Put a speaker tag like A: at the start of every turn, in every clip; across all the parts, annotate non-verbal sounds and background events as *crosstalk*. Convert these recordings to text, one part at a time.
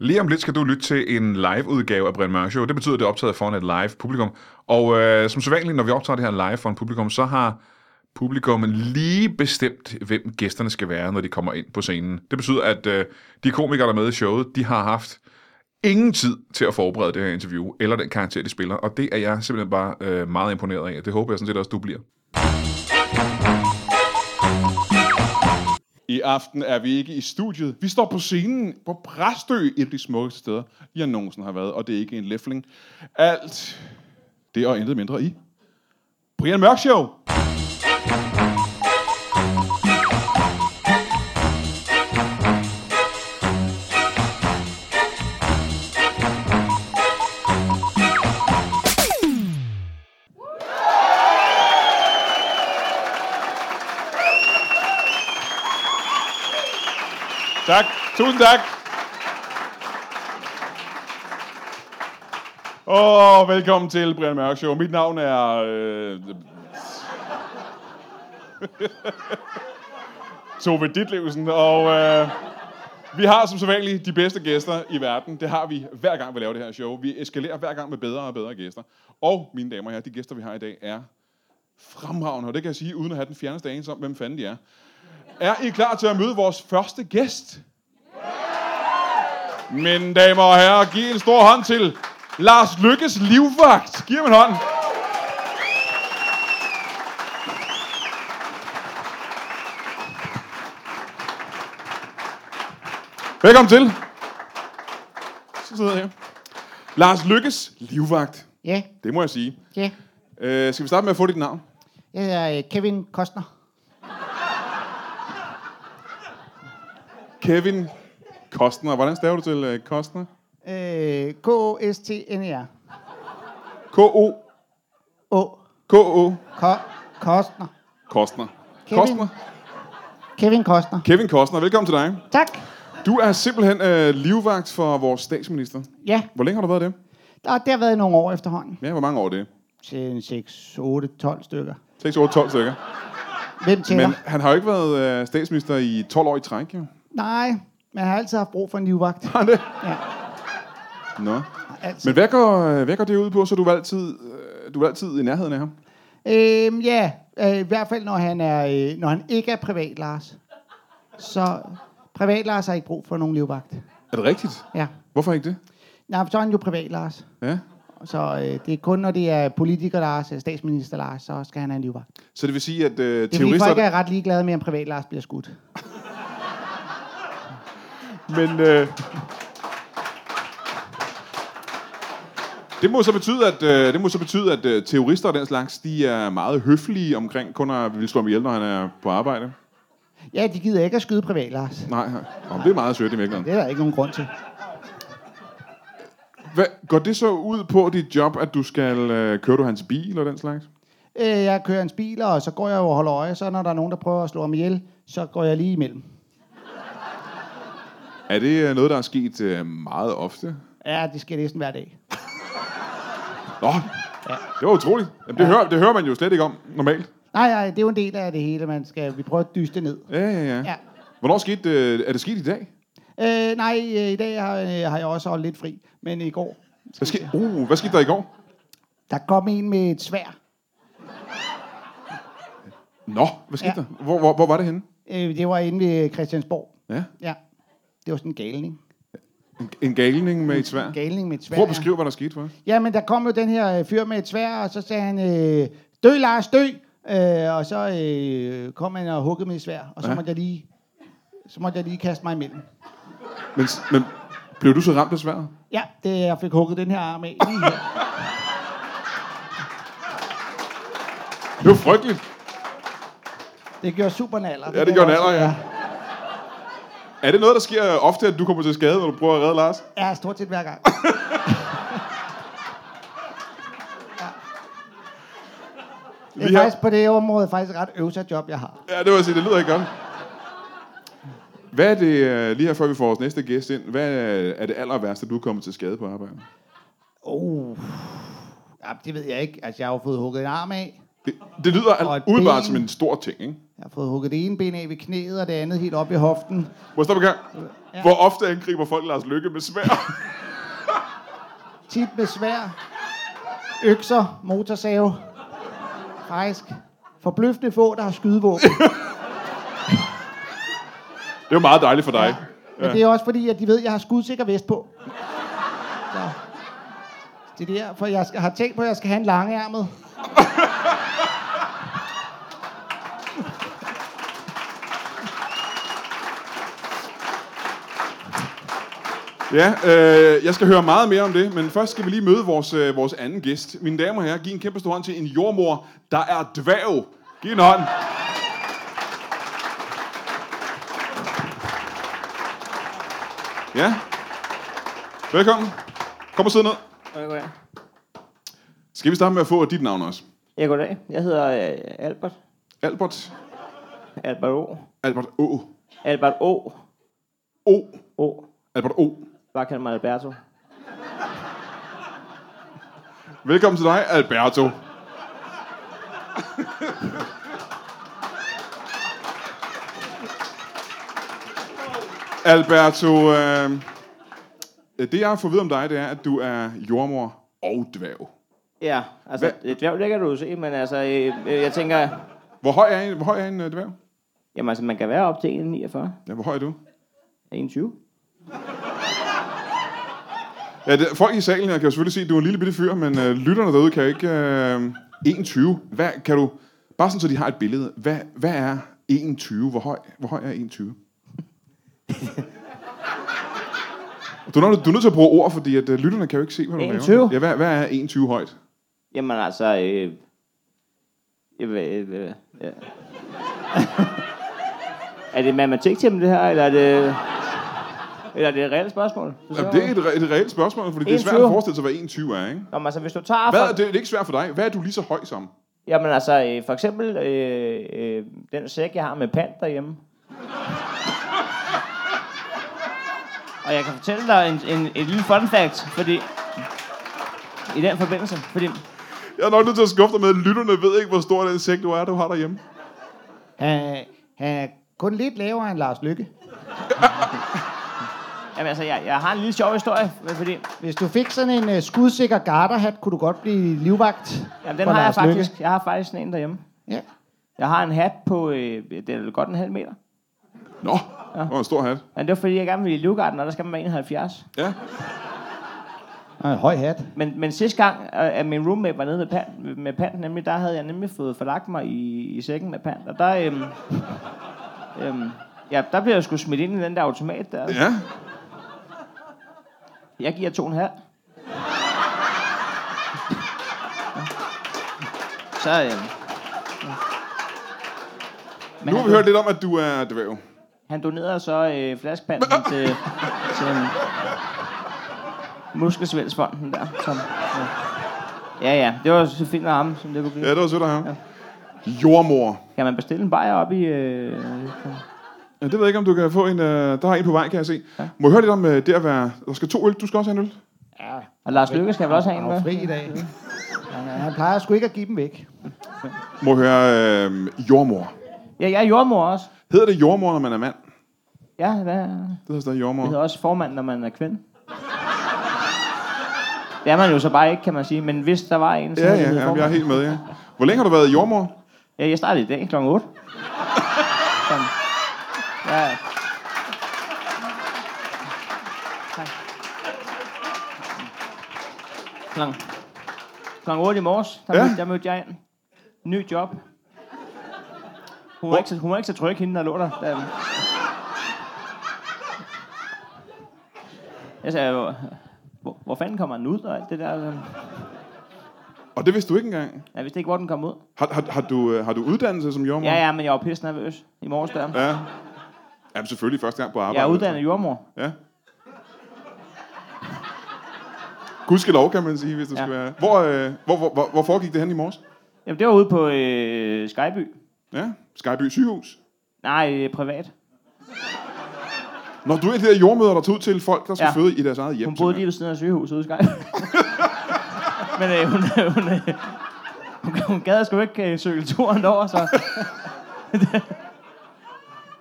A: Lige om lidt skal du lytte til en live-udgave af Brian Mørk Show. Det betyder, at det er optaget foran et live-publikum. Og øh, som sædvanligt, når vi optager det her live foran publikum, så har publikum lige bestemt, hvem gæsterne skal være, når de kommer ind på scenen. Det betyder, at øh, de komikere, der er med i showet, de har haft ingen tid til at forberede det her interview, eller den karakter, de spiller. Og det er jeg simpelthen bare øh, meget imponeret af. Det håber jeg sådan set også, du bliver.
B: I aften er vi ikke i studiet. Vi står på scenen på Præstø, et af de smukkeste steder, jeg nogensinde har været, og det er ikke en læfling. Alt det og intet mindre i Brian Mørk Show. Tak. Tusind tak. Og velkommen til Brian Mørk Show. Mit navn er... Øh... *laughs* Tove Ditlevsen, og øh... vi har som sædvanligt de bedste gæster i verden. Det har vi hver gang, vi laver det her show. Vi eskalerer hver gang med bedre og bedre gæster. Og mine damer og herrer, de gæster, vi har i dag, er fremragende, og det kan jeg sige, uden at have den fjerneste anelse om, hvem fanden de er. Er I klar til at møde vores første gæst? Mine damer og herrer, giv en stor hånd til Lars Lykkes livvagt. Giv ham en hånd. Velkommen til. Så sidder jeg her. Lars Lykkes livvagt.
C: Ja,
B: Det må jeg sige.
C: ja.
B: Øh, skal vi starte med at få dit navn?
C: Jeg hedder øh, Kevin Kostner.
B: Kevin Kostner. Hvordan staver du til øh, Kostner?
C: Øh, K-O-S-T-N-E-R.
B: K-O.
C: Å.
B: K-O.
C: Ko- Kostner.
B: Kostner.
C: Kevin.
B: Kostner.
C: Kevin Kostner.
B: Kevin Kostner, velkommen til dig.
C: Tak.
B: Du er simpelthen øh, livvagt for vores statsminister.
C: Ja,
B: Hvor længe har du været det?
C: der, der har været nogle år efterhånden.
B: Ja, hvor mange år er det?
C: Til en 6, 8, 12 stykker.
B: 6, 8, 12 stykker.
C: Hvem tæller?
B: Men
C: Men...
B: han har jo ikke været øh, statsminister i 12 år i træk, jo.
C: Nej, man har altid haft brug for en livvagt.
B: Har han det?
C: Ja, altså.
B: Nå.
C: altid.
B: Men hvad går, øh, hvad går det ud på, så du er altid, øh, du er altid i nærheden af ham?
C: Øhm, ja, øh, i hvert fald når han, er, øh, når han ikke er privat, Lars. Så privat, Lars har ikke brug for nogen livvagt.
B: Er det rigtigt?
C: Ja.
B: Hvorfor ikke det?
C: Nej, for så er han jo privat, Lars.
B: Ja.
C: Så øh, det er kun, når det er politiker Lars, eller statsminister Lars, så skal han have en livvagt. Det
B: Så det vil sige, at øh,
C: er fordi,
B: terrorister...
C: folk er ret ligeglade med, om privat Lars bliver skudt.
B: Men øh, det må så betyde, at, øh, det må så betyde, at øh, terrorister og den slags, de er meget høflige omkring kun at ville slå ham ihjel, når han er på arbejde.
C: Ja, de gider ikke at skyde privat Lars.
B: Nej, om det er meget sødt i virkeligheden.
C: Det er der ikke nogen grund til.
B: Hvad, går det så ud på dit job, at du skal øh, køre du hans bil og den slags?
C: Øh, jeg kører hans bil, og så går jeg jo og holder øje, så når der er nogen, der prøver at slå ham ihjel, så går jeg lige imellem.
B: Er det øh, noget, der er sket øh, meget ofte?
C: Ja, det sker næsten hver dag.
B: Nå, ja. det var utroligt. Jamen, det, ja. hører, det hører man jo slet ikke om normalt.
C: Nej, nej, det er jo en del af det hele, man skal, vi prøver at dyste ned.
B: Ja, ja, ja.
C: Ja.
B: Hvornår skete, øh, er det sket i dag?
C: Øh, nej, øh, i dag har, øh, har jeg også holdt lidt fri, men i går,
B: Hvad skete, uh, hvad skete der i går?
C: der kom en med et svær.
B: Nå, hvad skete ja.
C: Ja.
B: der? Hvor, hvor, hvor var det henne?
C: Øh, det var inde ved Christiansborg.
B: Ja.
C: Ja, det var sådan en galning.
B: En, en galning med et svær.
C: Galning med et svær.
B: Prøv at
C: ja.
B: beskrive, hvad der skete for os.
C: Jamen, der kom jo den her øh, fyr med et svær, og så sagde han, øh, dø Lars, dø! Øh, og så øh, kom han og huggede med et svær, og så,
B: Ja.
C: ja. måtte jeg lige, så måtte jeg lige kaste mig imellem.
B: Men, men blev du så ramt af sværet?
C: Ja, det, jeg fik hugget den her arm af. Lige her.
B: Det var frygteligt.
C: Det gjorde super naller.
B: Ja, det gjorde en alder, ja. Er det noget, der sker ofte, at du kommer til skade, når du prøver at redde Lars?
C: Ja, stort set hver
B: *laughs*
C: gang. Det er
B: Vi har-
C: faktisk på det område faktisk et ret øvsat job, jeg har.
B: Ja, det var sige, det lyder ikke godt. Hvad er det, øh, lige her før vi får vores næste gæst ind, hvad øh, er det aller værste, du er kommet til skade på arbejde?
C: Oh. Ja, det ved jeg ikke. Altså, jeg har jo fået hugget en arm af.
B: Det, det lyder
C: Og
B: al-
C: et
B: umiddelbart
C: ben.
B: som en stor ting, ikke?
C: Jeg har fået hugget det ene ben af ved knæet, og det andet helt op i hoften.
B: Må jeg stoppe en gang? Hvor ofte angriber folk Lars Lykke med
C: *laughs*
B: svær?
C: Tit med svær, økser, motorsave. Faktisk. Forbløffende få, der har skydevåben.
B: Det er jo meget dejligt for dig.
C: Ja. Men det er også fordi, at de ved, at jeg har skudsikker vest på. Så. Det er derfor, jeg skal, har tænkt på, at jeg skal have en langærmet.
B: Ja, øh, jeg skal høre meget mere om det, men først skal vi lige møde vores, øh, vores anden gæst. Mine damer og herrer, giv en kæmpe stor hånd til en jordmor, der er dværg. Giv en hånd. Ja. Velkommen. Kom og sidde ned.
D: Ja, goddag.
B: Skal vi starte med at få dit navn også?
D: Ja, goddag. Jeg hedder øh, Albert.
B: Albert.
D: Albert O.
B: Albert O.
D: Albert O.
B: O.
D: O.
B: Albert O.
D: Bare kald mig Alberto.
B: Velkommen til dig, Alberto. Alberto, øh, det jeg har fået at vide om dig, det er, at du er jordmor og dværg.
D: Ja, altså,
B: Hvad-
D: Hva? et dværg, det kan du jo se, men altså, øh, øh, jeg tænker,
B: Hvor høj er en, hvor høj er en øh, dværg?
D: jamen altså, man kan være op til 1,49.
B: Ja, hvor høj er du?
D: 1,20.
B: Ja, det, folk i salen her kan jo selvfølgelig se, at du er en lille bitte fyr, men øh, lytterne derude kan jo ikke... Øh, 21. Hvad, kan du, bare sådan, så de har et billede. Hvad, hvad er 21? Hvor høj, hvor høj er 21? du, er, nødt- du er nødt til at bruge ord, fordi at, øh, lytterne kan jo ikke se, hvad du
D: 21?
B: laver. Ja, hvad, hvad er 21 højt?
D: Jamen altså, øh, jeg ved, øh, ja. *laughs* er det matematik til det her, eller er det, eller er det et reelt spørgsmål? Du
B: Jamen,
D: ser
B: det er
D: mig.
B: et, re- et reelt spørgsmål, fordi det er svært
D: 21.
B: at forestille sig, hvad 21 er, ikke?
D: Nå, men altså, hvis du tager...
B: Hvad
D: for-
B: er, det, det er ikke svært for dig. Hvad er du lige så høj som?
D: Jamen altså, øh, for eksempel øh, øh, den sæk, jeg har med pant derhjemme. Og jeg kan fortælle dig en, en, en lille fun fact, fordi... I den forbindelse, fordi...
B: Jeg er nok nødt til at skuffe dig med, at lytterne ved ikke, hvor stor den sæk du er, du har derhjemme.
C: Han, han er kun lidt lavere end Lars Lykke.
D: Jamen altså, jeg, jeg har en lille sjov historie, men fordi...
C: Hvis du fik sådan en uh, skudsikker garterhat, kunne du godt blive livvagt.
D: Jamen, den
C: for
D: har jeg
C: Lars Løkke.
D: faktisk. Jeg har faktisk sådan en derhjemme.
C: Ja.
D: Jeg har en hat på... Øh, det er vel godt en halv meter.
B: Nå, det var en stor hat.
D: Men det var, fordi jeg gerne ville i Livgarden, og der skal man være 71.
B: Ja.
C: Og en høj hat.
D: Men, men sidste gang, øh, at min roommate var nede med pant, med pant nemlig, der havde jeg nemlig fået forlagt mig i, i sækken med pant. Og der, øhm, øhm, ja, der blev jeg sgu smidt ind i den der automat der.
B: Ja.
D: Jeg giver to og en halv. Så, øhm, men
B: Nu
D: altså-
B: har
D: han,
B: vi hørt lidt om, at du er dværg.
D: han donerede så øh, flaskepanden til, til øhm, Muskelsvældsfonden der. Som, ja. ja, ja, det var så fint af ham, som det kunne blive.
B: Ja, det var sødt af ham. Ja. Jordmor.
D: Kan man bestille en bajer op i... Øh...
B: Ja, det ved jeg ikke, om du kan få en... Øh, der er en på vej, kan jeg se. Ja. Må jeg høre lidt om øh, det at være... Der skal to øl. Du skal også have en øl.
D: Og Lars Lykke skal vel også have en
C: Han er jo
D: med?
C: fri i dag. Han, han plejer sgu ikke at give dem væk.
B: Må jeg høre øh, jordmor.
D: Ja, jeg er jordmor også.
B: Hedder det jordmor, når man er mand?
D: Ja, det er-
B: Det hedder stadig jordmor.
D: det hedder også formand, når man er kvinde. Det er man jo så bare ikke, kan man sige. Men hvis der var en, så
B: Ja,
D: havde det
B: ja,
D: heddet
B: ja, jeg er
D: formand.
B: helt med, ja. Hvor længe har du været jordmor?
D: Ja, jeg startede i dag kl. 8. Som... Ja. Tak. Klokken klokken 8 i morges, der,
B: Ja.
D: ja. mødte, der mødte jeg ind. Ny job. Hun var, ikke, så- hun var ikke så tryg, hende der lå der. der. Jeg sagde, hvor, hvor, hvor fanden kommer den ud og alt det der? altså.
B: Og det vidste du ikke engang.
D: Jeg vidste ikke, hvor den kom ud.
B: Har, har, har, du, øh, har du uddannelse som jordmor?
D: Ja, ja, men jeg var pisse nervøs i morges der.
B: ja. Jamen, selvfølgelig første gang på arbejde. altså.
D: Jeg er uddannet jordmor.
B: Ja. Gudskelov, kan man sige, hvis det ja.
D: Ja.
B: skulle være. Hvor, øh, hvor, hvor, hvor, hvor foregik det hen i morges?
D: Jamen, det var ude på øh, Skyby.
B: Ja, Skyby sygehus.
D: Nej, øh, privat.
B: Når du er de der jordmøder, der tog ud til folk, der skal ja.
D: Ja.
B: føde i deres eget hjem.
D: Hun boede lige *laughs*
B: simpelthen.
D: ved siden af sygehuset ude i Skyby. Men øh, hun, øh, hun, øh, Hun, hun gad sgu ikke øh, cykle turen over, så... *laughs*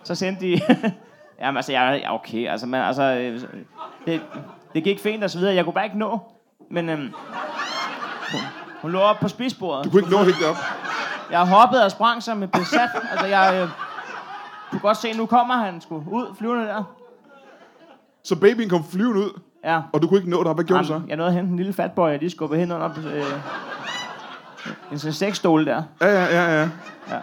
D: så sendte de... *laughs* Jamen, altså, jeg ja, okay, altså, men, altså, øh, det, det gik fint og så videre. Jeg kunne bare ikke nå, men øhm, hun, hun lå op på spidsbordet.
B: Du kunne ikke nå helt op.
D: Jeg hoppede og sprang som et besat. Altså, jeg øh, kunne godt se, nu kommer han sgu ud flyvende der.
B: Så babyen kom flyvende ud,
D: Ja.
B: og du kunne ikke nå det op. Hvad gjorde du så?
D: Jamen, jeg nåede at hente en lille fatboy, og de skubbede hende under øh, en sådan sexstol der.
B: Ja, ja, ja, ja.
D: Ja.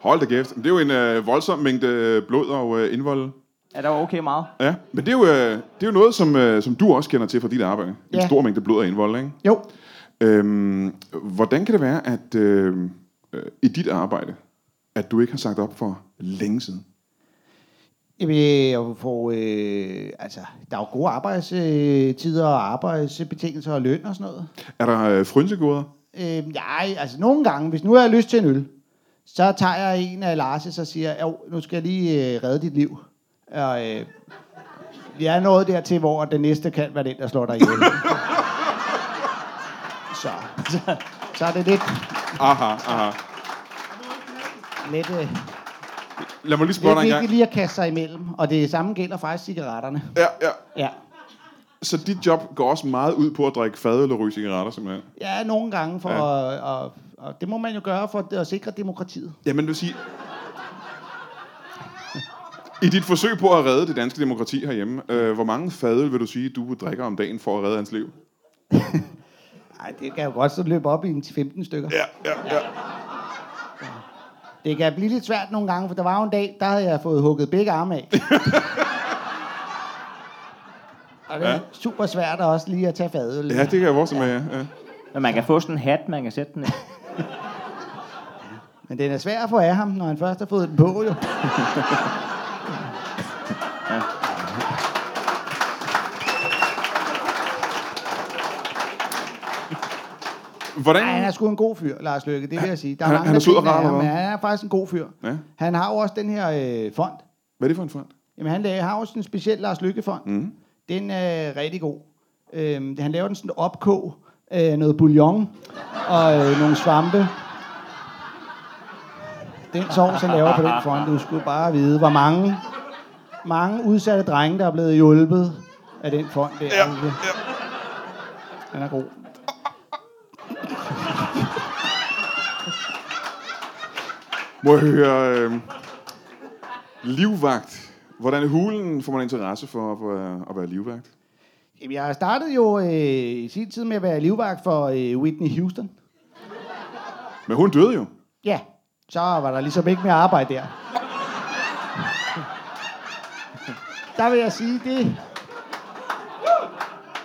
B: Hold da kæft. Det er jo en øh, voldsom mængde øh, blod og øh, indvold.
D: Ja, der var okay meget.
B: Ja, men det er jo, øh, det er jo noget, som, øh, som du også kender til fra dit arbejde. En
C: Ja.
B: stor mængde blod og indvold, ikke?
C: Jo,
B: Øhm, hvordan kan det være, at øh, øh, i dit arbejde, at du ikke har sagt op for længe siden?
C: Jamen, jeg får, øh, altså, der er jo gode arbejdstider og arbejdsbetingelser og løn og sådan noget.
B: Er der øh, frynsegoder?
C: Øh, nej, altså nogle gange, hvis nu har jeg lyst til en øl, så tager jeg en af Lars' og siger, jo, nu skal jeg lige øh, redde dit liv. Og øh, vi er nået dertil, hvor den næste kan være den, der slår dig *laughs* ihjel. så, så, så er det lidt,
B: Aha, aha.
C: lidt, øh,
B: Lad mig lige spørge
C: lidt
B: dig en gang.
C: vigtigt lige at kaste sig imellem. Og det samme gælder faktisk cigaretterne.
B: Ja, ja.
C: Ja.
B: Så dit job går også meget ud på at drikke fadøl og ryge cigaretter, simpelthen?
C: Ja, nogle gange, for ja. At, og, og det må man jo gøre for at sikre demokratiet.
B: Jamen, det vil sige... I dit forsøg på at redde det danske demokrati herhjemme, øh, hvor mange fadøl vil du sige, du drikker om dagen for at redde hans liv?
C: Nej, det kan jo godt så løbe op i en 15 stykker.
B: Ja, ja, ja.
C: Det kan blive lidt svært nogle gange, for der var jo en dag, der havde jeg fået hugget begge arme af. og det er
B: Ja.
C: super svært også lige at tage fadøl.
B: Ja, det kan jeg forestille mig, ja. ja.
D: Men man kan få sådan en hat, man kan sætte den i.
C: Men den er svær at få af ham, når han først har fået den på, jo.
B: Hvordan...
C: Ej, altså- han er sgu en god fyr, Lars Løkke, det vil jeg sige. Der er
B: Han-
C: mange,
B: han
C: der
B: er sød og
C: griner af
B: rar,
C: ham,
B: eller
C: men
B: hvad?
C: han er faktisk en god fyr.
B: Ja.
C: Han har jo også den her øh, fond.
B: Hvad er det for en fond?
C: Jamen, han laver, har også en speciel Lars Lykke-fond. Mm. Den er rigtig god. Øhm, han laver den sådan opkog af noget bouillon og øh, nogle svampe. Den sovs, han laver på den fond, du skulle bare vide, hvor mange, mange udsatte drenge, der er blevet hjulpet af den fond der. Ja, ja. Den er god.
B: Må jeg høre... Øh, livvagt. Hvordan i hulen får man interesse for, for øh, at være livvagt?
C: Jamen, jeg startede jo øh, i sin tid med at være livvagt for øh, Whitney Houston.
B: Men hun døde jo.
C: Ja, så var der ligesom ikke mere arbejde der. Der vil jeg sige, det...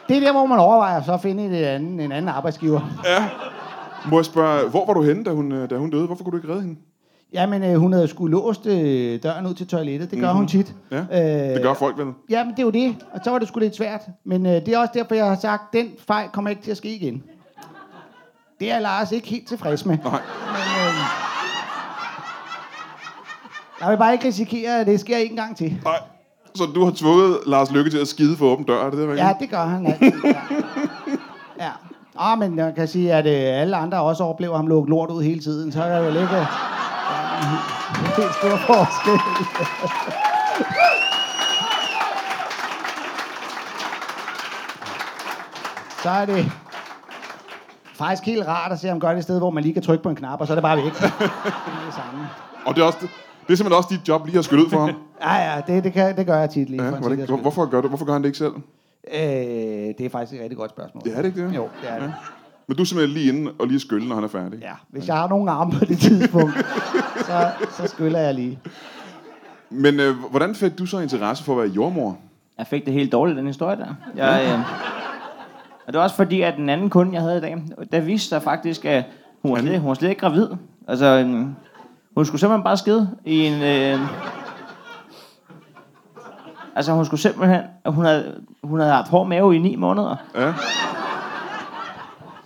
C: Det er der, hvor man overvejer så at finde en anden, en anden arbejdsgiver.
B: Må jeg spørge, hvor var du henne, da hun, øh, da hun døde? Hvorfor kunne du ikke redde hende?
C: Jamen, øh, hun havde sgu låst øh, døren ud til toilettet. Det gør mm-hmm. hun tit.
B: Mhm.
C: Øh,
B: Ja, det gør folk vel.
C: Jamen, det er jo det. Og så var det sgu lidt svært. Men øh, det er også derfor, jeg har sagt, den fejl kommer ikke til at ske igen. Det er Lars ikke helt tilfreds med.
B: Nej.
C: Men, øh, jeg vil bare ikke risikere, at det sker en gang til.
B: Nej. Så du har tvunget Lars Lykke til at skide for åben dør, er det det,
C: Ja,
B: rigtigt?
C: det gør han altid. Ja. ja. Ah, men jeg kan sige, at øh, alle andre også oplever ham lukke lort ud hele tiden, så er der jo ikke ja, *laughs* en helt stor forskel. så er det faktisk helt rart at se ham gøre det et sted, hvor man lige kan trykke på en knap, og så er det bare væk. Det er det samme.
B: Og det er, også, det er simpelthen også dit job lige at skylle ud for
C: *laughs*
B: ham.
C: Ja, ja, det, det, kan, det gør jeg tit lige.
B: Ja,
C: for en
B: var det,
C: sikkerheds
B: ikke-
C: skyld.
B: hvor- hvorfor, gør du, hvorfor gør han det ikke selv?
C: Øh, det er faktisk et rigtig godt spørgsmål.
B: Det er det ikke det?
C: Jo, det er det.
B: Ja. Men du er simpelthen lige inde og lige skylle, når han er færdig.
C: Ja, hvis jeg har nogen arme på det tidspunkt, *laughs* så, så skyller jeg lige.
B: Men øh, hvordan fik du så interesse for at være jordmor?
D: Jeg fik det helt dårligt, den historie der. Jeg, øh, og det var også fordi, at den anden kunde, jeg havde i dag, der viste sig faktisk, at hun var slet, hun var slet ikke gravid. Altså, øh, hun skulle simpelthen bare skide i en... Øh, altså, hun skulle simpelthen... Hun havde, hun havde haft hård mave i ni måneder.
B: Ja.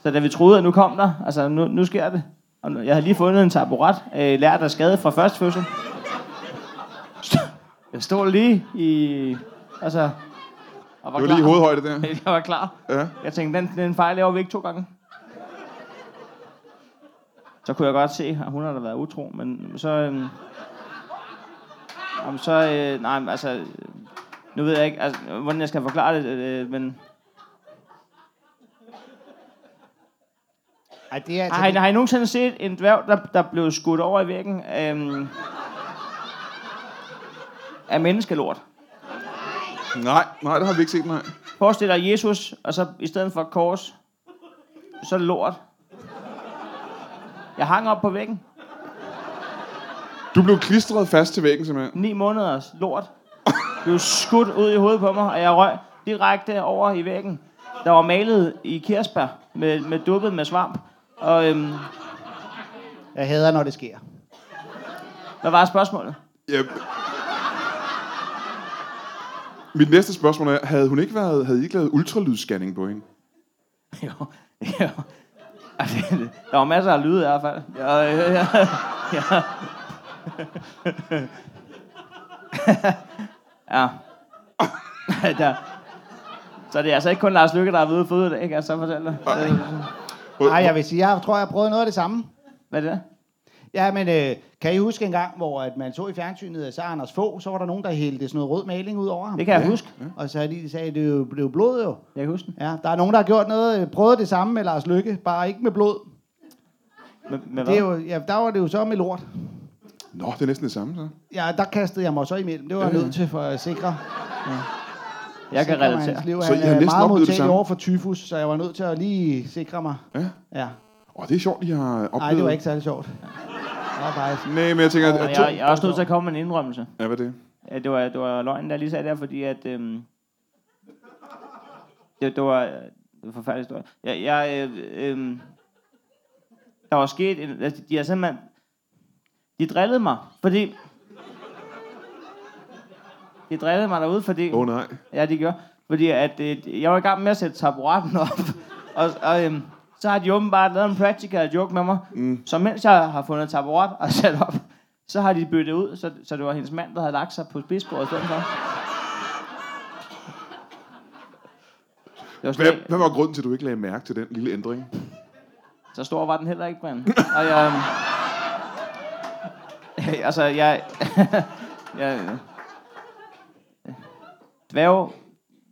D: Så da vi troede, at nu kom der, altså nu, nu sker det. Og nu- jeg havde lige fundet en taburet, øh, lært af skade fra første fødsel. St- Jeg stod lige i... Altså... Og var
B: Det var lige i hovedhøjde der.
D: *laughs* Jeg var klar.
B: Ja.
D: Jeg tænkte, den, den fejl laver vi ikke to gange. Så kunne jeg godt se, at hun har da været utro, men så... Øhm, jamen, så... Øh, nej, men altså... Nu ved jeg ikke, altså, hvordan jeg skal forklare det, øh, men...
C: Ej, det er altså...
D: Har I, har I nogensinde set en dværg, der, der blev skudt over i væggen øhm, af menneskelort?
B: Nej, nej, det har vi ikke set, nej.
D: Forestil dig Jesus, og så i stedet for kors, så lort. Jeg hang op på væggen.
B: Du blev klistret fast til væggen, simpelthen.
D: Ni måneders lort. Blev skudt ud i hovedet på mig, og jeg røg direkte over i væggen. Der var malet i kirsebær, med, med duppet med svamp. Og øhm,
C: Jeg hader, når det sker.
D: hvad var spørgsmålet?
B: Ja. Mit næste spørgsmål er, havde hun ikke været, havde I ikke lavet ultralydsscanning på hende?
D: Jo, jo. Ej, det- Der var masser af lyde i hvert fald. Ja, ja, ja. ja. ja. der. Så det er altså ikke kun Lars Lykke, der har været fødet i dag, kan jeg så fortælle dig. Øh,
C: Nej, jeg vil sige, jeg tror, jeg har prøvet noget af det samme.
D: Hvad er det?
C: Ja, men øh, kan I huske en gang, hvor at man så i fjernsynet, at så Anders Fogh, så var der nogen, der hældte sådan noget rød maling ud over ham.
D: Det kan jeg huske.
C: Og så de sagde, det er jo blev blod jo.
D: Jeg kan huske den.
C: Ja, der er nogen, der har gjort noget, øh, prøvet det samme med Lars Lykke, bare ikke med blod.
D: Med, med
C: Det er
D: hvad?
C: jo, ja, der var det jo så med lort.
B: Nå, det er næsten det samme, så.
C: Ja, der kastede jeg mig så imellem. Det var jeg
B: Øh.
C: nødt til for at sikre.
D: Jeg kan
C: sikre mig hans
D: relatere.
C: Liv.
B: Så
C: Så
B: I
C: jeg
B: har
C: er
B: næsten
C: meget
B: oplevet det
C: modtagelig
B: samme?
C: over for tyfus, så jeg var nødt til at lige sikre mig.
B: Ja.
C: Ja.
B: Åh, det er sjovt, I har oplevet.
C: Nej, det var ikke særlig sjovt. Det var faktisk...
B: Nej, men jeg tænker, at...
D: Og
B: at
D: jeg, jeg er også nødt til at komme med en indrømmelse.
B: Ja, hvad er det?
D: Ja, det var, det var løgnen, der lige sagde der, fordi at... Øhm, det, det var øh, det var en forfærdelig historie. Jeg, jeg, øh, øhm, der var sket... En, altså, de har simpelthen... De drillede mig, fordi... De drillede mig derude, fordi...
B: Åh, oh, nej.
D: Ja, de gjorde. Fordi at, øh, jeg var i gang med at sætte taburetten op. *laughs* Og, og øhm, så har de åbenbart lavet en practical joke med mig. Mm. Så mens jeg har fundet taburet og *laughs* sat op, så har de byttet ud, så, så det var hendes mand, der havde lagt sig på spidsbordet i stedet for. Det var
B: Hvad,
D: slet, ikke-
B: hvad var grunden til, at du ikke lagde mærke til den lille ændring?
D: så stor var den heller ikke, Brian. Og jeg... øhm, altså, jeg... *laughs* jeg dværge...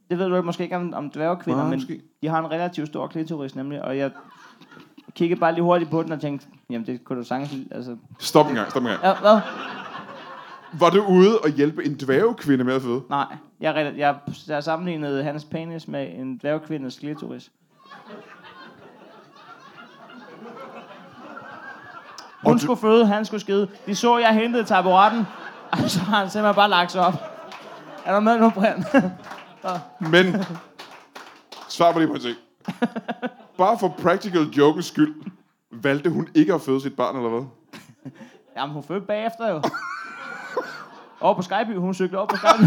D: Det ved du ikke, måske ikke om, om dværgekvinder,
B: Nej,
D: men
B: måske.
D: de har en relativt stor klitoris nemlig, og jeg kiggede bare lige hurtigt på den og tænkte, jamen det kunne du sagtens... Altså,
B: Stop en gang, stop en gang.
D: ja, hvad?
B: Var du ude og hjælpe en dværgekvinde med at føde?
D: Nej, jeg, jeg, jeg, jeg sammenlignede hans penis med en dværgkvindes klitoris. Hun
B: Og du-
D: skulle føde, han skulle skide. De så, jeg hentede taburetten, og så har han simpelthen bare lagt sig op. Er du med nu, Brian? *laughs*
B: Men, svar mig lige på en ting. Bare for practical jokes skyld, valgte hun ikke at føde sit barn, eller hvad?
D: Jamen, hun fødte bagefter jo. Over på Skyby, hun søgte over på Skyby.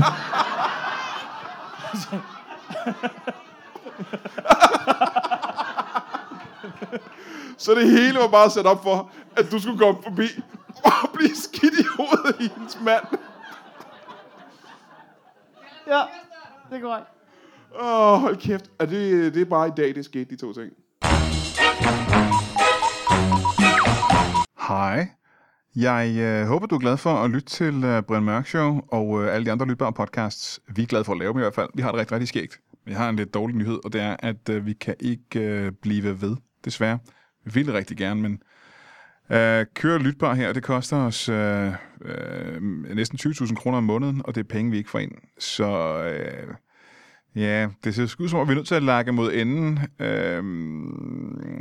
B: Så det hele var bare sat op for, at du skulle komme forbi og blive skidt i hovedet i hendes mand.
D: ja, det er korrekt.
B: Åh, oh, hold kæft. Er det, det er bare i dag, det skete, de to ting.
A: Hej. Jeg øh, håber, du er glad for at lytte til øh, Brian Mørk Show og øh, alle de andre lytbare podcasts. Vi er glade for at lave dem i hvert fald. Vi har det rigtig, rigtig skægt. Vi har en lidt dårlig nyhed, og det er, at øh, vi kan ikke øh, blive ved, desværre. Vi ville rigtig gerne, men øh, køre lytbar her, det koster os øh, øh, næsten 20.000 kroner om måneden, og det er penge, vi ikke får ind. Så øh, ja, det ser sgu ud som om, vi er nødt til at lakke mod enden, øh,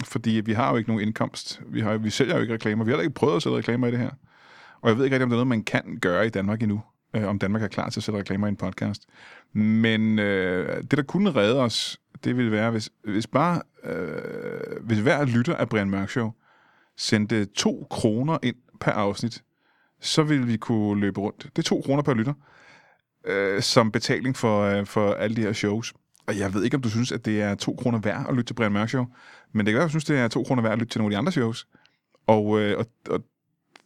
A: fordi vi har jo ikke nogen indkomst. Vi, har, vi sælger jo ikke reklamer. Vi har heller ikke prøvet at sælge reklamer i det her. Og jeg ved ikke rigtig, om det er noget, man kan gøre i Danmark endnu. Øh, om Danmark er klar til at sætte reklamer i en podcast. Men øh, det, der kunne redde os, det ville være, hvis, hvis bare øh, hvis hver lytter af Brian Mørk Show sendte to kroner ind per afsnit, så ville vi kunne løbe rundt. Det er to kroner per lytter øh, som betaling for, øh, for alle de her shows. Og jeg ved ikke, om du synes, at det er to kroner værd at lytte til Brian Mørk Show, men det kan være, at du synes, det er to kroner værd at lytte til nogle af de andre shows. Og, øh, og, og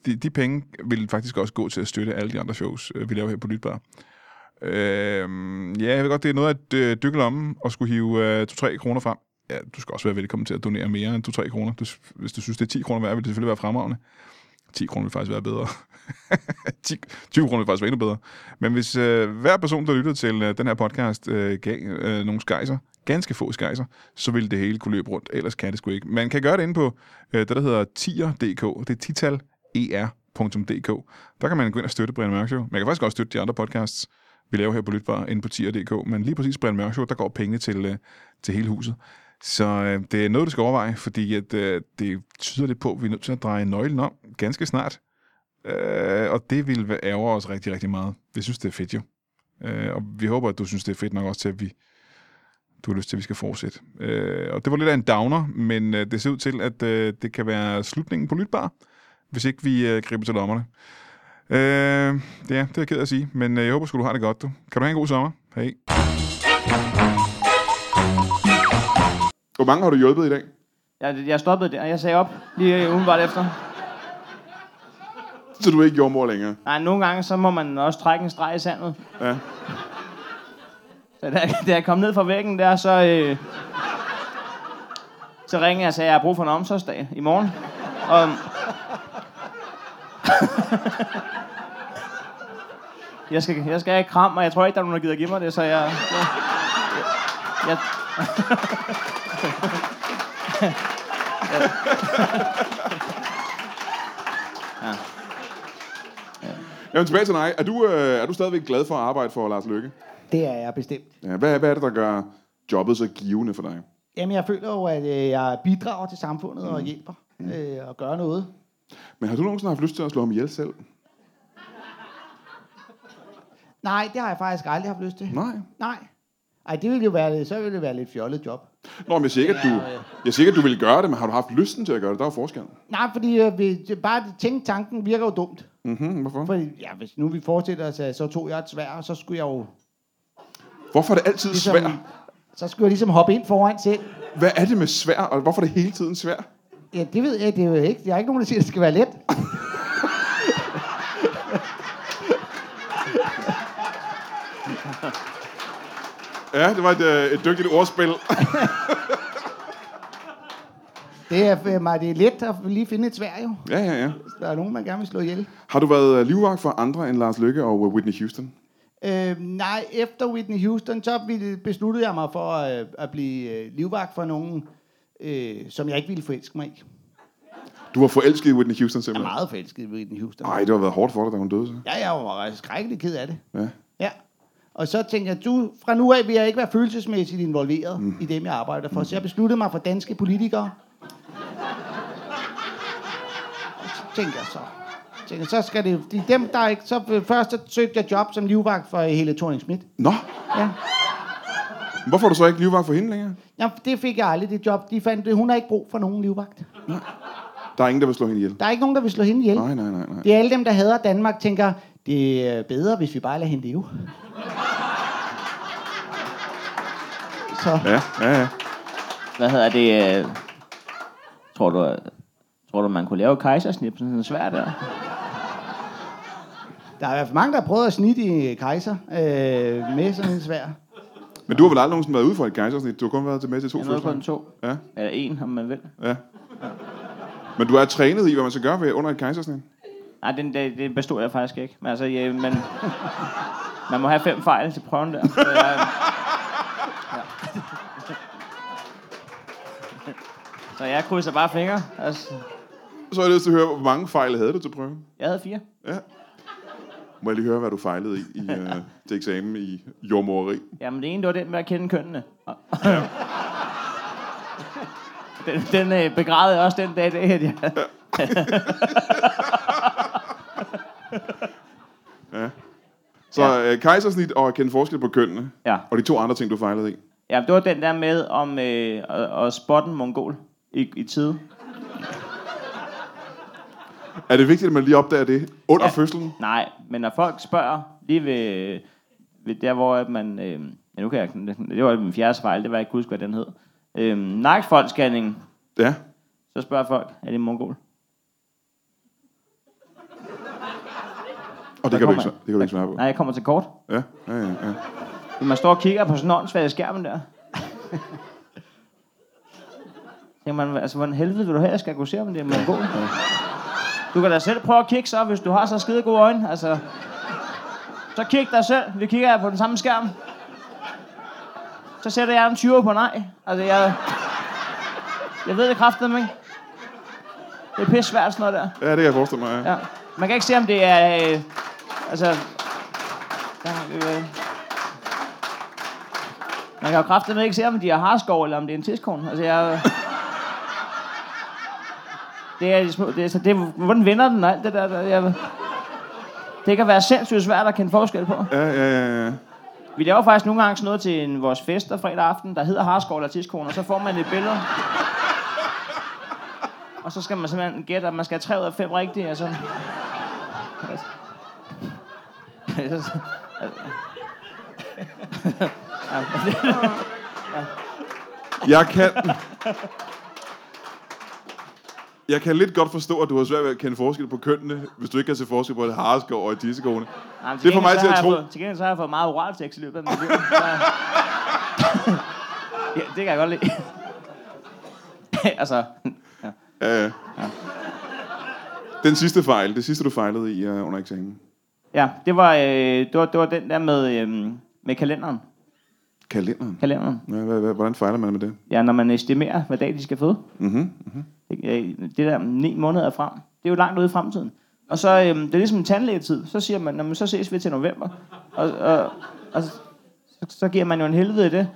A: de, de penge vil faktisk også gå til at støtte alle de andre shows, øh, vi laver her på Lytbar. Øh, ja, jeg ved godt, det er noget at øh, dykke lommen og skulle hive øh, 2-3 kroner frem.
B: ja, du skal også være velkommen til at donere mere end 2-3 kroner. Du, hvis du synes, det er 10 kroner værd, vil det selvfølgelig være fremragende. 10 kroner vil faktisk være
A: *laughs*
B: bedre. 10, 20 kroner vil faktisk være endnu bedre. Men hvis øh, hver person, der lyttede til øh, den her podcast, øh, gav øh, nogle skejser, ganske få skejser, så ville det hele kunne løbe rundt. Ellers kan det sgu ikke. Man kan gøre det inde på øh, det, der hedder tier.dk. Det er tital E er.dk. Der kan man gå ind og støtte Brian Mørk Show. Man kan faktisk også støtte de andre podcasts, vi laver her på Lytbar, inde på tier.dk. Men lige præcis Brian Mørk Show, der går pengene til, øh, til hele huset. Så øh, det er noget, du skal overveje, fordi at, øh, det tyder lidt på, at vi er nødt til at dreje nøglen om ganske snart. Øh, og det vil væ- ærge os rigtig, rigtig meget. Vi synes, det er fedt jo. Øh, og vi håber, at du synes, det er fedt nok også til, at vi, du har lyst til, at vi skal fortsætte. Øh, og det var lidt af en downer, men øh, det ser ud til, at øh, det kan være slutningen på Lytbar, hvis ikke vi øh, griber til lommerne. Øh, ja, det er jeg ked af at sige, men øh, jeg håber sgu, du har det godt. Du. Kan du have en god sommer? Hej. Hvor mange har du hjulpet i dag?
D: Jeg, jeg stoppede der, jeg sagde op lige øh, umiddelbart efter.
B: Så du er ikke jordmor længere?
D: Nej, nogle gange, så må man også trække en streg i sandet.
B: Ja.
D: Så da, da jeg kom ned fra væggen der, så... Øh, så ringede jeg og sagde, at jeg har brug for en omsorgsdag i morgen. Og, øhm, *laughs* jeg, skal, jeg skal have et kram, og jeg tror ikke, der er nogen, der gider give mig det, så jeg... Jeg, jeg,
B: Jamen tilbage til dig. Er du, øh, er du stadigvæk glad for at arbejde for Lars Løkke?
C: Det er jeg bestemt.
B: Ja, hvad, hvad er det, der gør jobbet så givende for dig?
C: Jamen, jeg føler jo, at øh, jeg bidrager til samfundet
B: Mm.
C: og hjælper øh, og gør noget.
B: Men har du nogensinde haft lyst til at slå ham ihjel selv?
C: Nej, det har jeg faktisk aldrig haft lyst til.
B: Nej.
C: Nej. Ej, det ville jo være, så ville det være lidt fjollet job.
B: Nå, men jeg siger ikke, at du, jeg siger ikke, at du ville gøre det, men har du haft lysten til at gøre det? Der er jo forskel.
C: Nej, fordi øh, vi, bare at tænke tanken virker jo dumt.
B: Mm-hmm, hvorfor?
C: Fordi, ja, hvis nu vi fortsætter os, øh, så tog jeg et svær, og så skulle jeg jo...
B: Hvorfor er det altid ligesom... svært?
C: så skulle jeg ligesom hoppe ind foran selv.
B: Hvad er det med svær, og hvorfor er det hele tiden svært?
C: Ja, det ved jeg, det er jo ikke. Jeg er ikke nogen, der siger, at det skal være let.
B: Ja, det var et, øh, et dygtigt ordspil.
C: Det er, øh, mig, det er let at lige finde et svær, jo.
B: *laughs* ja, ja, ja.
C: Hvis Der er nogen, man gerne vil slå ihjel.
B: Har du været øh, livvagt for andre end Lars Løkke og øh, Whitney Houston?
C: Øh, nej, efter Whitney Houston, så ville, besluttede jeg mig for øh, at blive øh, livvagt for nogen, øh, som jeg ikke ville forelske mig i.
B: Du var forelsket i Whitney Houston
C: Jeg er
B: simpelthen.
C: meget forelsket i Whitney Houston.
B: Nej, det har været hårdt for dig, da hun døde så.
C: Ja, jeg var skrækkelig ked af det.
B: Ja.
C: Ja. Og så tænkte jeg, du, fra nu af vil jeg ikke være følelsesmæssigt involveret mm. i dem, jeg arbejder for. Så jeg besluttede mig for danske politikere. Og så tænkte jeg så. Tænkte, jeg, så skal det, de, dem, der ikke, så først så søgte jeg job som livvagt for hele thorning Schmidt.
B: Nå,
C: Ja.
B: hvorfor er du så ikke livvagt for hende længere?
C: ja. det fik jeg aldrig, det job. De fandt, hun har ikke brug for nogen livvagt.
B: Der er ingen, der vil slå hende ihjel.
C: Der er ikke nogen, der vil slå hende ihjel.
B: Nej, nej, nej, nej.
C: Det er alle dem, der hader Danmark, tænker, det er bedre, hvis vi bare lader hende leve. *laughs* Så.
B: Ja, ja, ja.
D: hvad hedder det? Øh, tror, du, øh, tror du, man kunne lave et kejsersnip sådan en svær der?
C: Der er i hvert fald mange, der har prøvet at snitte i kejser øh, med sådan en svær.
B: Men du har vel aldrig nogensinde været ude for et gejsersnit? Du har kun været til med til to
D: Jeg nåede
B: fødsler.
D: kun to.
B: Ja,
D: Eller en, om man vil.
B: ja. Men du er trænet i, hvad man skal gøre ved under et kejsersnit.
D: Nej, den, det, det bestod jeg faktisk ikke. Men altså, ja, man, man må have fem fejl til prøven der. Så øh, jeg, ja. Så jeg krydser bare fingre. Altså,
B: Så er jeg lyst til at høre, hvor mange fejl havde du til prøven?
D: jeg havde fire.
B: Ja. Må jeg lige høre, hvad du fejlede i, i uh,
D: *laughs*
B: til eksamen i jordmoreri?
D: Jamen, det ene, det var den med at kende kønnene. Og- den, den øh, begravede jeg også den dag i dag, at jeg,
B: Så ja. uh, kejsersnit og at kende forskel på kønnene.
D: Ja.
B: Og de to andre ting, du fejlede i.
D: Ja, det var den der med om øh, at, at spotte en mongol i, i tide.
B: Er det vigtigt, at man lige opdager det under ja.
D: Ja.
B: fødslen?
D: Nej, men når folk spørger lige ved, ved der, hvor at man... Øh, ja, nu kan jeg, det var min fjerde fejl, det var jeg ikke kunne huske, hvad den hed. Øh, Nakfoldscanning,
B: Ja.
D: så spørger folk, er det en mongol?
B: Og det kan,
D: Der
B: du
D: kommer
B: ikke, sva- det kan du ikke svare på.
D: Nej, jeg kommer til kort.
B: Ja, ja, ja. ja.
D: Man står og kigger på sådan en åndssvag skærmen der. *laughs* Tænker man, altså, hvordan helvede vil du have, jeg skal gå se om det er mongol? Du kan da selv prøve at kigge så, hvis du har så skide gode øjne. Altså, så kig dig selv. Vi kigger på den samme skærm. Så sætter jeg en 20 på nej. Altså, jeg... Jeg ved det kraftedeme ikke. Det er pisse svært, sådan noget der.
B: Ja, det kan jeg forestille mig. Ja.
D: Ja. Man kan ikke se, om det er... Øh, altså... Ja, øh, man kan jo kraftedeme ikke se, om de har harskov, eller om det er en tidskone. Altså, jeg... Det er, de små, det, er, så det, er- hvordan vender den og alt det der? der jeg, det kan være sindssygt svært at kende forskel på.
B: Ja, ja, ja, ja.
D: Vi laver faktisk nogle gange sådan noget til en, vores fester fredag aften, der hedder Harskov eller Tidskone, og så får man et billede. Og så skal man simpelthen gætte, at man skal have 3 ud af 5 rigtige, altså. Altså.
B: Jeg kan... Jeg kan lidt godt forstå, at du har svært ved at kende forskel på kønnene, hvis du ikke kan se forskel på et hareskov og et tissekone.
D: Nej, men
B: Det får mig
D: gengæld så
B: til at
D: har jeg
B: tro-
D: Fået, til gengæld så har jeg fået meget oralsex i løbet af mit liv. Så... ja, det kan jeg godt lide. altså,
B: Ja, Øh, ja. Den sidste fejl, det sidste du fejlede i uh, under eksamen.
D: ja, det var, øh, det var, det var den der med, øh, med kalenderen.
B: Kalenderen.
D: kalenderen.
B: Ja, hvad, hvad, hvordan fejler man med det?
D: Ja, når man estimerer, hvad dag de skal føde.
B: Mhm.
D: Ikke? Øh, Det der ni måneder frem, det er jo langt ude i fremtiden. Og så, øhm, det er ligesom en tandlægetid. Så siger man, "Nå, men så ses vi til november. Og, og, og så, så giver man jo en helvede i det.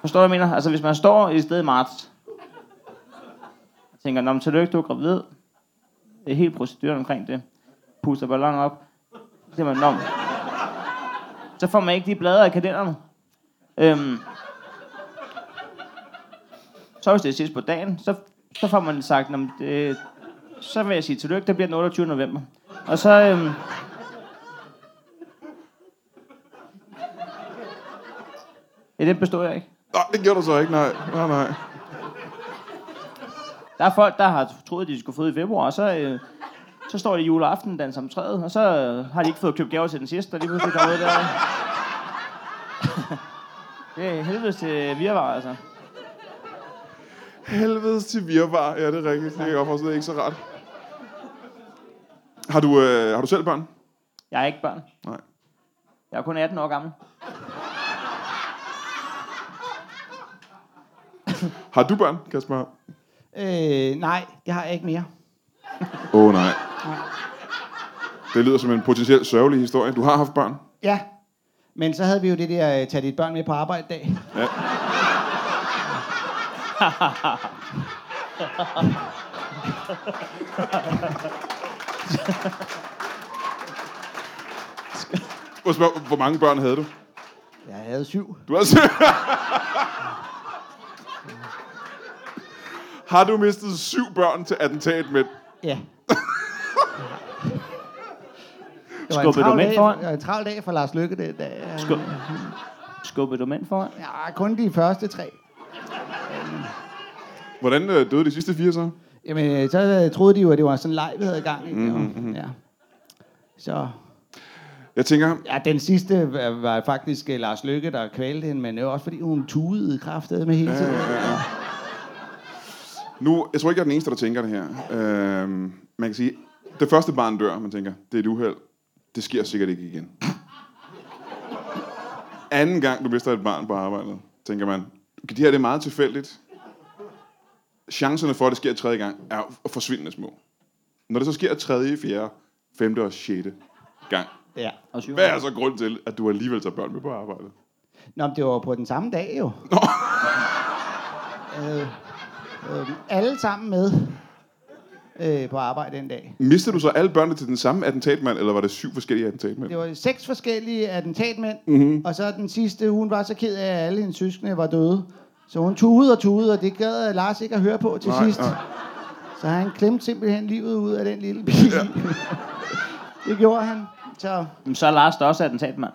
D: Forstår du, hvad jeg mener? Altså, hvis man står i stedet i marts, og tænker, Nå, men tillykke, du er gravid. Det er helt proceduren omkring det. Puster ballonen op. Så siger man, Nå, men- så får man ikke de blade af kalenderen. Øhm, så hvis det er sidst på dagen, så, så får man sagt, "Nå, men det, så vil jeg sige tillykke, det bliver den 28. november. Og så... Øhm, ja, det består jeg ikke.
B: Nå, det gjorde du så ikke, nej. Nej, nej.
D: Der er folk, der har troet, de skulle føde i februar, og så, øh, så står de juleaften danser om træet, og så øh, har de ikke fået købt gaver til den sidste, og lige pludselig kommer ud der. *laughs* det er helvedes til virvar, altså.
B: Helvedes til virvar. Ja, det er rigtigt. Det kan jeg godt forstå. Det er ikke så rart. Har du, øh, har du selv børn?
D: Jeg er ikke børn.
B: Nej.
D: Jeg er kun 18 år gammel.
B: Har du børn, Kasper? Åh,
C: Øh, nej, det har jeg ikke mere.
B: oh, nej. Det lyder som en potentielt sørgelig historie. Du har haft børn.
C: Ja, men så havde vi jo det der, øh, tag dit børn med på arbejde dag.
B: Må jeg spørge, hvor mange børn havde du?
C: Jeg havde syv.
B: Du altså- har selv... *laughs* Har du mistet syv børn til attentat med?
C: Ja. Det var en
D: Skubbede du
C: travl
D: mænd
C: dag-
D: foran?
C: Det var en travl dag for Lars Lykke den dag.
D: Skub, skubbede du mænd foran?
C: Ja, kun de første tre.
B: Hvordan øh, døde de sidste fire så?
C: Jamen, øh, så øh, troede de jo, at det var sådan en leg, vi havde i gang.
D: Mhm,
C: Ikke? Mm-hmm. Ja. Så
B: Jeg tænker,
C: ja, den sidste var, var faktisk øh, Lars Lykke, der kvalte hende, men det var også fordi, hun tudede kraftet med hele
D: Øh.
C: tiden. Ja.
B: Nu, jeg tror ikke, jeg er den eneste, der tænker det her. Øhm, man kan sige, det første barn dør, man tænker, det er et uheld. Det sker sikkert ikke igen. Anden gang, du mister et barn på arbejdet, tænker man, okay, det her det er meget tilfældigt. Chancerne for, at det sker tredje gang, er jo forsvindende små. Når det så sker tredje, fjerde, femte og sjette gang,
C: ja.
D: Og syv
B: hvad er så grund til, at du alligevel tager børn med på arbejdet?
C: Nå, men det var på den samme dag jo. *laughs* øh, øh, alle sammen med øh, på arbejde den dag.
B: Mister du så alle børnene til den samme attentatmand, eller var det syv forskellige attentatmænd?
C: Det var seks forskellige attentatmænd,
B: Mhm.
C: mm-hmm. og så den sidste, hun var så ked af, at alle hendes søskende var døde. Så hun tudede og tudede, og det gad Lars ikke at høre på til
B: Nej,
C: sidst.
B: nej.
C: Så han klemte simpelthen livet ud af den lille bil. Ja. *laughs* det gjorde han. Så,
D: Jamen, så er Lars da også attentatmand.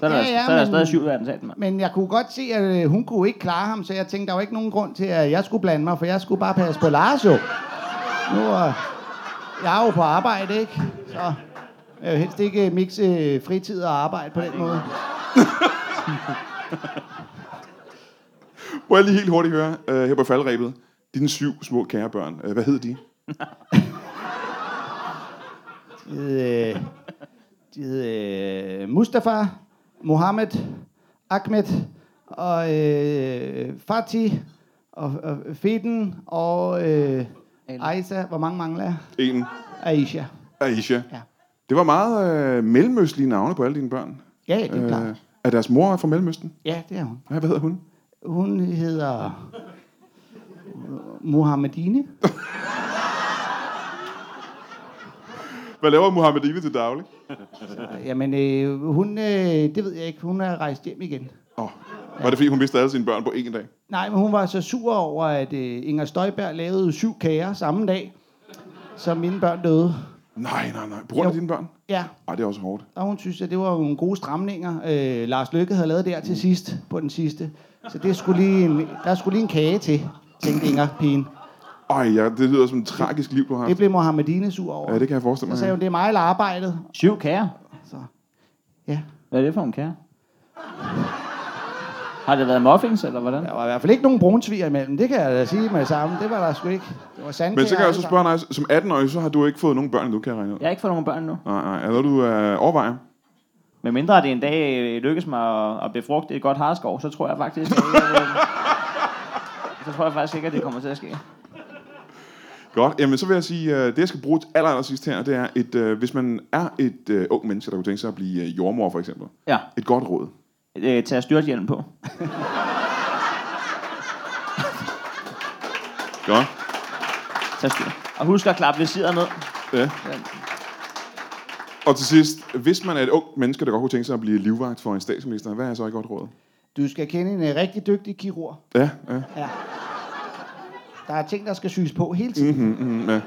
D: Så er der,
C: Ja,
D: ja,
C: ja,
D: ja, så er der
C: men-
D: stadig syv attentatmand.
C: men jeg kunne godt se, at øh, hun kunne ikke klare ham, så jeg tænkte, der var ikke nogen grund til, at jeg skulle blande mig, for jeg skulle bare passe på Lars jo. Nu er jeg er jo på arbejde, ikke? øh, Så jeg vil helst ikke mixe fritid og arbejde på den måde.
B: Må jeg lige helt hurtigt høre, øh, her på faldrebet, dine syv små kære børn, øh, hvad hed de?
C: De hed, øh, de hed øh, Mustafa, Mohammed, Ahmed og øh, Fatih og, og Feden og øh, Aisha. Hvor mange mangler jeg?
B: En,
C: Aisha.
B: Aisha.
C: Ja.
B: Det var meget øh, mellemøstlige navne på alle dine børn. Øh,
C: Ja, det er klart.
B: er deres mor fra Mellemøsten?
C: Ja, det er hun.
B: Ja, hvad hedder hun?
C: Hun hedder Mohammedine.
B: Hvad laver Mohammedine til daglig?
C: Jamen, øh, hun, øh, det ved jeg ikke, hun er rejst hjem igen.
B: Oh, var det fordi, hun mistede alle sine børn på én dag?
C: Nej, men hun var så sur over, at øh, Inger Støjberg lavede syv kager samme dag, som mine børn døde.
B: Nej, nej, nej. På grund af
C: Jo.
B: dine børn?
C: Ja,
B: Ej, det er også hårdt.
C: og hun synes, at det var nogle gode stramninger, øh, Lars Løkke havde lavet der til sidst, på den sidste. Så det skulle lige en, der skulle lige en kage til, tænkte Inger, pigen.
B: Ej, ja, det lyder som et tragisk liv, du har
C: Det
B: haft.
C: blev Mohammedine sur over.
B: Ja, det kan jeg forestille
C: Så
B: mig.
C: sagde hun, det er mig, der arbejdede.
D: Syv kager.
C: Så, ja.
D: Hvad er det for en kære? Har det været muffins, eller hvordan?
C: Der var i hvert fald ikke nogen brunsviger imellem, det kan jeg da sige med det samme. Det var der sgu ikke. Det var sandkager.
B: Men så kan jeg
C: alle
B: også
C: sammen.
B: spørge dig, som 18-årig, så har du ikke fået nogen børn, du kan jeg regne ud.
D: Jeg har ikke fået nogen børn nu.
B: Nej, nej. Er det noget, du øh, overvejer?
D: Men mindre det en dag øh, lykkes mig at, at befrugte et godt harskov, så tror jeg faktisk, at, øh, så tror jeg faktisk ikke, at det kommer til at ske.
B: Godt. Jamen, så vil jeg sige, øh, det jeg skal bruge til aller, aller sidst her, det er, et, øh, hvis man er et øh, ung menneske, der kunne tænke sig at blive øh, jordmor, for eksempel.
D: Ja,
B: Et godt råd.
D: øh, tag styrthjelm på.
B: Godt.
D: Tag styr. Og husk at klappe visiret ned.
B: Ja. Og til sidst, hvis man er et ung menneske, der godt kunne tænke sig at blive livvagt for en statsminister, hvad er så et godt råd?
C: Du skal kende en øh, rigtig dygtig kirurg.
B: Ja, ja.
C: Ja. Der er ting, der skal syes på hele tiden. Mm-hmm.
B: Mm, ja.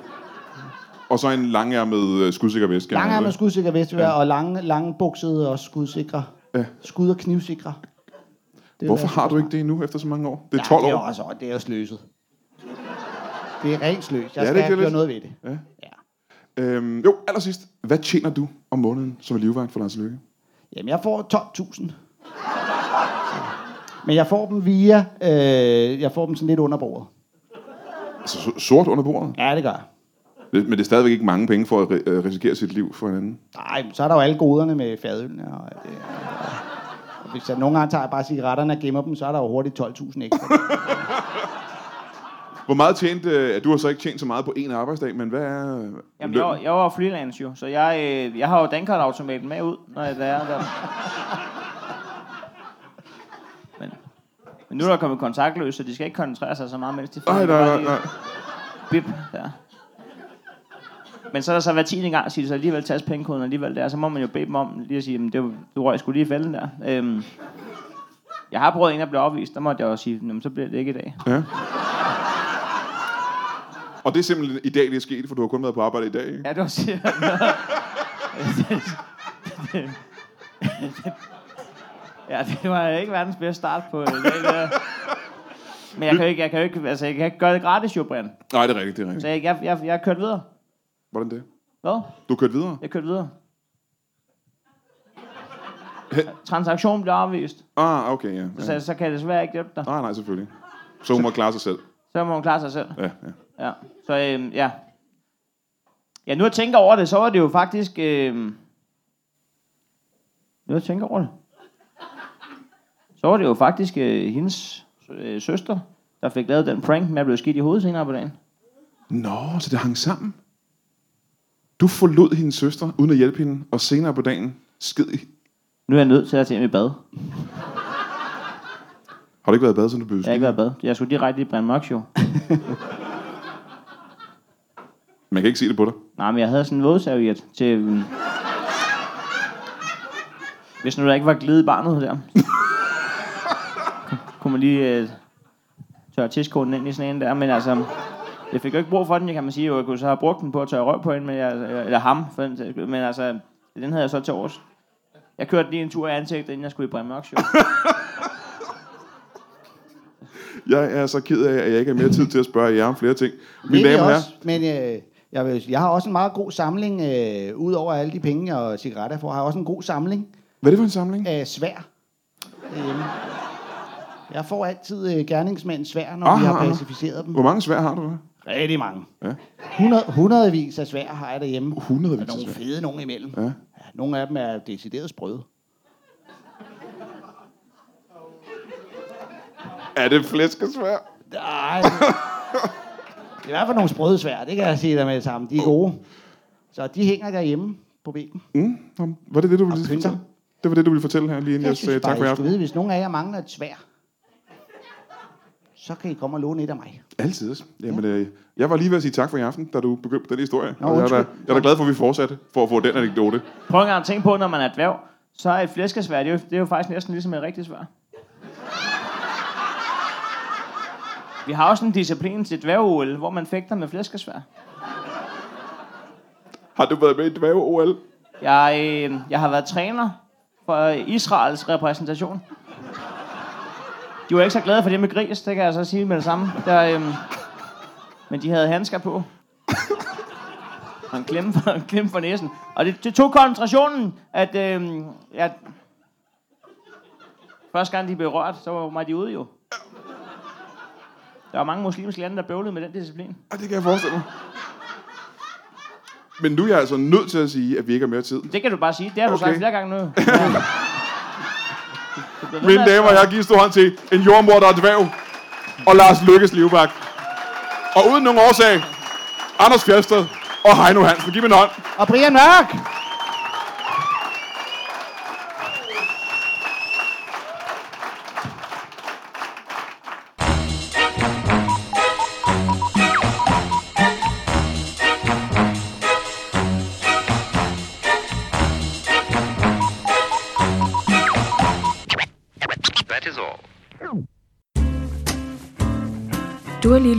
B: Og så en langærmet øh, skudsikker vest. gerne,
C: Lange er med
B: ikke?
C: skudsikre vestvære, ja. og lange, lange buksede og skudsikre.
B: Ja.
C: Skud- og knivsikre. Det
B: Hvorfor har du ikke det endnu efter så mange år? Det er 12
C: 12 ja, det er
B: år.
C: også, det er jo sløset. Det er rent sløs.
B: er
C: Jeg skal
B: ikke det
C: ja, gøre
B: lidt?
C: noget ved det.
B: Ja.
C: Ja.
B: Øhm, jo, allersidst. Hvad tjener du om måneden som livvagt for Lars Løkke?
C: Jamen, jeg får 12.000. Men jeg får dem via, øh, jeg får dem sådan lidt under bordet.
B: Altså so- sort under bordet.
C: Ja, det gør jeg.
B: Det- Men det er stadigvæk ikke mange penge for at ri- øh, risikere sit liv for hinanden.
C: Nej, men så er der jo alle goderne med fadølene. Og det, og hvis jeg nogle gange tager jeg bare cigaretterne og gemmer dem, så er der jo hurtigt 12.000 ekstra.
B: *laughs* Hvor meget tjente... Øh, du har så ikke tjent så meget på en arbejdsdag, men hvad er øh,
D: Jamen, jeg,
B: lønnen?
D: var- jeg var freelance jo, så jeg, øh, jeg har jo dankortautomaten med ud, når jeg der er der. Men, men nu er der kommet kontaktløs, så de skal ikke koncentrere sig så meget, mens de får
B: Ej,
D: det
B: nej,
D: bare
B: nej,
D: lige-
B: nej.
D: Bip, der. Men så er der så hver tiende gang, siger de så alligevel tages pengekoden alligevel der, så må man jo bede dem om lige at sige, "Jamen, det var, du røg skulle lige i fælden der. Øhm, jeg har prøvet en, der blev afvist, der måtte jeg jo sige, "Nå, men så bliver det ikke i dag.
B: Ja. Og det er simpelthen i dag, det er sket, for du har kun været på arbejde i dag, ikke?
D: Ja, det var sikkert. ja, det var ikke verdens bedste start på øh, det. Men jeg kan jo ikke, jeg kan jo ikke, altså, jeg kan ikke gøre det gratis, jo, Brian.
B: Nej, det er rigtigt, det er
D: Så
B: rigtigt.
D: jeg, jeg, jeg, jeg kørte videre.
B: Hvordan det?
D: Hvad?
B: Du har kørt videre?
D: Jeg kørte videre.
B: Hen-
D: Transaktionen blev afvist,
B: Ah, okay, ja.
D: så,
B: ja.
D: ja. så kan jeg desværre ikke hjælpe dig.
B: Nej, nej, selvfølgelig. Så hun må klare sig selv.
D: Så må hun klare sig selv.
B: Ja, ja.
D: Ja. Så øhm, ja. Ja, nu at tænke over det, så var det jo faktisk... Øhm, nu at tænke over det. Så var det jo faktisk øh, hendes øh, søster, der fik lavet den prank med at blive skidt i hovedet senere på dagen.
B: Nå, så det hang sammen. Du forlod hendes søster uden at hjælpe hende, og senere på dagen sked i.
D: Nu er jeg nødt til at tage hjem i bad.
B: Har du ikke været i bad, siden du blev
D: Jeg har ikke
B: skidt?
D: været i bad. Jeg skulle direkte i Brian Mørk Show.
B: Man kan ikke se det på dig.
D: Nej, men jeg havde sådan en vådserviet til... øhm, Hvis nu der ikke var glæde i barnet der. kunne man lige øh, tørre tidskoden ind i sådan en der, men altså... Jeg fik jo ikke brug for den, kan man sige. Jo, Jeg kunne så have brugt den på at tørre røv på hende, men jeg, øh, eller ham, for den, sags skyld. men altså, den havde jeg så til års. Jeg kørte lige en tur i ansigtet, inden jeg skulle i Brian Mørk Show.
B: Jeg er så ked af, at jeg ikke har mere tid til at spørge jer om flere ting. Mine
C: Det er
B: damer og herrer,
C: det også, Men øh, jeg, vil, jeg har også en meget god samling, øh, ud over alle de penge og cigaretter, for jeg får, har jeg også en god samling
B: hvad er det for en samling?
C: af svær. derhjemme. Jeg får altid øh, gerningsmænd svær, når
B: Aha,
C: aha, vi har
B: aha.
C: pacificeret dem.
B: Hvor mange svær har du da?
C: Rigtig mange.
B: Ah, Ja.
C: 100, hundredvis af svær har jeg derhjemme. Der er
B: Hundredvis af
C: nogle
B: svær.
C: fede nogen imellem.
B: Ja.
C: Ja, nogle af dem er decideret sprøde.
B: Er det flæskesvær?
C: Nej. Det er i hvert fald nogle sprøde svær, det kan jeg sige dig med det samme. De er gode. Så de hænger derhjemme på væggen.
B: Mm. nå, Var det det, du ville
C: Og pynter.
B: fortælle? Det var det, du ville fortælle her, lige inden jeg,
C: Jeg
B: sagde
C: synes
B: øh, tak for i
C: bare, I
B: aften.
C: skulle vide, hvis nogen af jer mangler et svær, så kan I komme og låne et af mig.
B: Altid. Jamen, øh, jeg var lige ved at sige tak for i aften, da du begyndte den historie.
C: Nå,
B: Og jeg, er da,
C: undskyld.
B: jeg er da glad for, at vi fortsatte for at få den anekdote.
D: Prøv en gang at tænke på, når man er dværg, så er et flæskesvær, det er jo, det er jo faktisk næsten ligesom et rigtigt svær. Vi har også en disciplin til dværg hvor man fægter med flæskesvær.
B: Har du været med i dværge-OL?
D: Jeg, øh, jeg har været træner for Israels repræsentation. De var ikke så glade for det med gris, det kan jeg så sige med det samme. Der, øh, men de havde handsker på. Og en klemme for, en klemme for næsen. Og det, det tog koncentrationen, at øh, jeg... Første gang de blev rørt, så var mig de ude jo. Der var mange muslimske lande, der bøvlede med den disciplin.
B: Ah, det kan jeg forestille mig. Men nu er jeg altså nødt til at sige, at vi ikke har mere tid.
D: Det kan du bare sige. Det har du
B: Okay.
D: okay. sagt flere gange nu.
B: *laughs*
D: Ja. Du bliver ved
B: Mine
D: med at-
B: damer og herrer, giv en stor hånd til en jordmor, der er dværg, og Lars Lykkes Livbak. Og uden nogen årsag, Anders Fjeldsted og Heino Hansen. Giv mig en hånd.
C: Og Brian Mørk!
E: That is all.
F: Du har lige